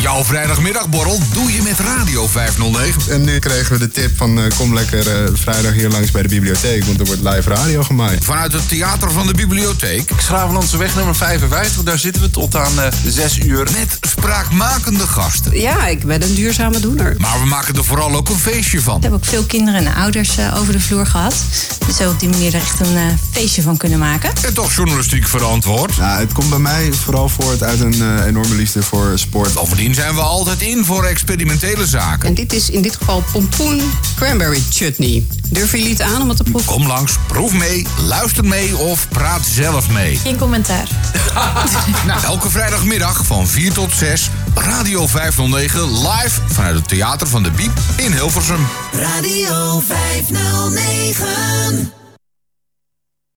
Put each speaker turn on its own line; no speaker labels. Jouw vrijdagmiddagborrel doe je met Radio 509.
En nu kregen we de tip van eh, kom lekker eh, vrijdag hier langs bij de bibliotheek, want er wordt live radio gemaakt.
Vanuit het theater van de bibliotheek.
Schravenlandse weg nummer 55, daar zitten we tot aan eh 6 uur.
Met spraakmakende gasten.
Ja, ik ben een duurzame doener.
Maar we maken er vooral ook een feestje van.
We hebben ook veel kinderen en ouders eh, over de vloer gehad. Dus we op die manier er echt een eh, feestje van kunnen maken.
En toch journalistiek verantwoord.
Nou, het komt bij mij vooral voort uit een eh, enorme liefde voor sport.
Bovendien zijn we altijd in voor experimentele zaken.
En dit is in dit geval pompoen cranberry chutney. Durven jullie het aan om het te proeven?
Kom langs, proef mee, luister mee of praat zelf mee.
Geen commentaar.
Nou, elke vrijdagmiddag van 4 tot 6, Radio 509 live vanuit het Theater van de Biep in Hilversum.
Radio 509.